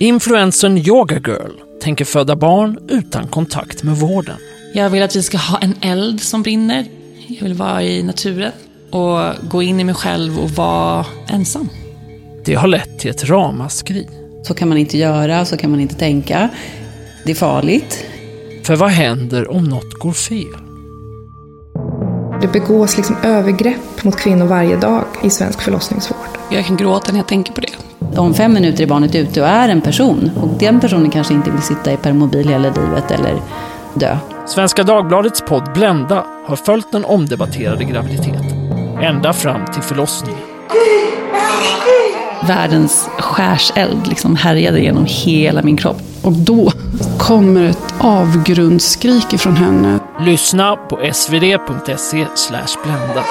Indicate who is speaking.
Speaker 1: Influensen Yoga Girl tänker föda barn utan kontakt med vården.
Speaker 2: Jag vill att vi ska ha en eld som brinner. Jag vill vara i naturen och gå in i mig själv och vara ensam.
Speaker 1: Det har lett till ett ramaskri.
Speaker 3: Så kan man inte göra, så kan man inte tänka. Det är farligt.
Speaker 1: För vad händer om något går fel?
Speaker 4: Det begås liksom övergrepp mot kvinnor varje dag i svensk förlossningsvård.
Speaker 2: Jag kan gråta när jag tänker på det.
Speaker 3: Om fem minuter är barnet ute och är en person. Och den personen kanske inte vill sitta i permobil hela livet eller dö.
Speaker 1: Svenska Dagbladets podd Blända har följt den omdebatterade graviditeten. Ända fram till förlossningen.
Speaker 2: Världens skärseld liksom härjade genom hela min kropp.
Speaker 5: Och då kommer ett avgrundsskrik ifrån henne.
Speaker 1: Lyssna på svd.se blända.